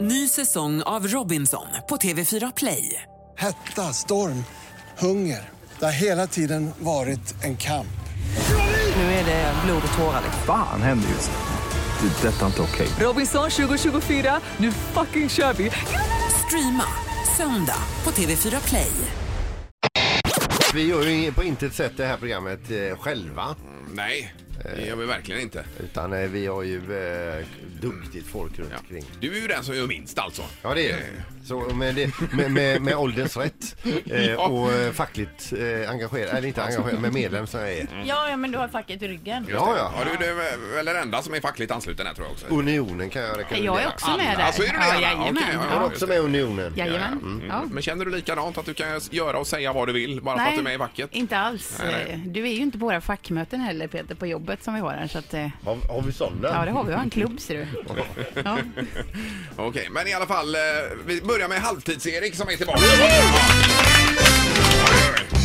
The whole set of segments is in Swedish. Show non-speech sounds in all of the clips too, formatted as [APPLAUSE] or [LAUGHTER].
Ny säsong av Robinson på TV4 Play. Hetta, storm, hunger. Det har hela tiden varit en kamp. Nu är det blod och tårar. liksom. Fan händer just nu. Det. är Detta är inte okej. Robinson 2024, nu fucking kör vi! Streama söndag på TV4 Play. Vi gör ju på intet sätt det här programmet eh, själva. Nej, det gör vi verkligen inte. Utan eh, vi har ju eh, duktigt folk runt Ja. omkring. Du är ju den som gör minst alltså. Ja, det är det. Så med, det, med, med, med ålderns [LAUGHS] rätt eh, Ja. och eh, fackligt eh, engagerad, eller inte engagerad, men medlem som jag är. Ja, ja, men du har facket i ryggen. Just Ja, Mm, det. ja. Oh, ja du, du är väl den enda som är fackligt ansluten här tror jag också. Unionen kan jag rekommendera. Jag är också med där. Anna, så Alltså, är du det, Anna? Ja, jajamän. Okej, ja, Jag är ja. också med i Unionen. Jajamän. Ja. Mm. Men känner du likadant att du kan göra och säga vad du vill bara för att du är med i facket? inte alls. Nej, nej. Eh, Du är ju inte på våra fackmöten heller, Peter, på jobbet som vi har här. Så att, eh, Har, har vi sådana? ja, det har vi. Vi har en klubb, ser du. [LAUGHS] Ja. Okej, men i alla fall, eh, vi börjar med halvtids-Erik som är tillbaka.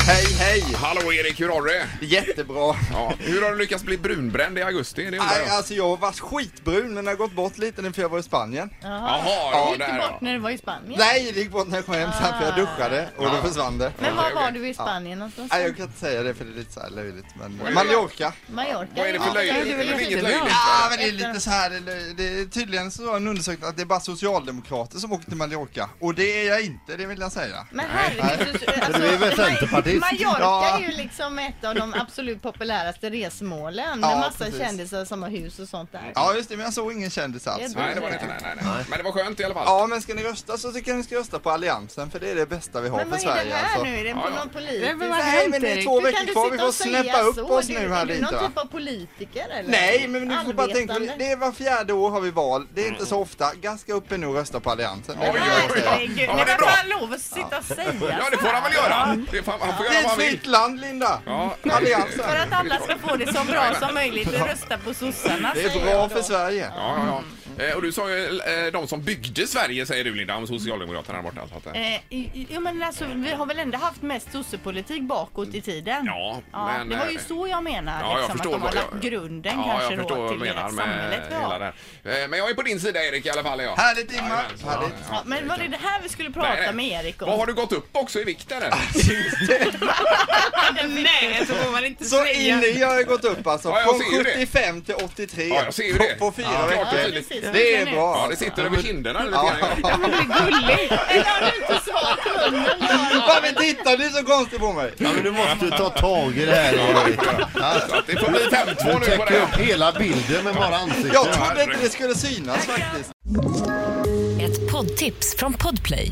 Hej, hej! Hallå Erik, hur har du det? Jättebra! Ja. Hur har du lyckats bli brunbränd i augusti? Det undrar Nej, jag. alltså jag har varit skitbrun men jag har gått bort lite nu för jag var i Spanien. Jaha, Du ja, gick där ju ja. bort när du var i Spanien. Nej, det gick bort när jag kom hem sen för jag duschade och då försvann det. Ah. Men var Okej, var okej. du i Spanien någonstans? Nej, jag kan inte säga det för det är lite så här löjligt men... eh, Mallorca! Mallorca? Vad är det Ja, för löjligt? du Det väl är väl inget jättebra. löjligt? Ja, Ah, men det är lite så här, det är löj- det är tydligen så har en undersökning att det är bara socialdemokrater som åker till Mallorca. Och det är jag inte, det vill jag säga. Men herregud, du- alltså, Du är väl Ma- centerpartist? Mallorca Ja. är ju liksom ett av de absolut populäraste resmålen med Ja, massa precis. kändisar som har hus och sånt där. Ja, just det, men jag såg ingen kändis alls. Det är Nej, det var det inte. Nej, nej, nej. Men det var skönt i alla fall. Ja, men ska ni rösta så tycker jag ni ska rösta på Alliansen för det är det bästa vi har Men för vad är det Sverige. här alltså. nu? Är det Ja, på ja. någon politisk... Men vad har Nej, hänt men det är Erik? två Hur kan veckor du kvar. sitta Vi får och säga snäppa upp så? oss Du- nu här Är du lite någon va? typ av politiker eller? Nej, men du får bara tänka på det. Arbetande? Det är var fjärde år har vi val. Det är inte så ofta. Gaska upp er nu och rösta på Alliansen. Oj, oj, oj. Herregud, ja, Mm. Ja, det men är bra. vad han lov att sitta och säga Ja, det får han väl göra. Det får, han får göra Det vad är han ett vill. fritt land, Linda. Ja. Alliansen. för att alla ska få det så bra som möjligt. Rösta på sossarna Det är säger jag bra då. för Sverige. Ja, ja, ja. Eh, Och du sa ju eh, de som byggde Sverige, säger du Linda, om Socialdemokraterna där borta. Alltså, att, Eh, eh, i- i- jo, men alltså, vi har väl ändå haft mest sossepolitik bakåt i tiden? Ja, men, det var ju eh, så jag menar. Ja, jag liksom, förstår att de har vad lagt jag- grunden ja, kanske jag förstår då vad till du menar det samhället med vi har. hela det här. Eh, Men jag är på din sida Erik i alla fall. är Jag. Härligt Ingmar. Jajamän, så- Härligt. Ja, men var det det här vi skulle prata Nej, nej. med Erik om? Vad har du gått upp också i vikt eller? [LAUGHS] Nej, så får man inte Så in i jag har gått upp alltså. Ja, jag Från ser ju det. 75 till 83. Ja, jag ser ju det. På fyra Ja, klart och veckor. tydligt. Precis, Det men är nu- Ja, bra. det sitter över kinderna lite grann. Ja. Men det är gulligt. Eller har du inte svarat på munnen? [LAUGHS] Varför tittar du så konstigt på mig? Ja, men du måste ta tag i det här Erik. Så att det får bli 5-2 Du nu på det. täcker upp här. hela bilden med bara ansiktet. Jag trodde inte det skulle synas faktiskt. Ett poddtips från Podplay.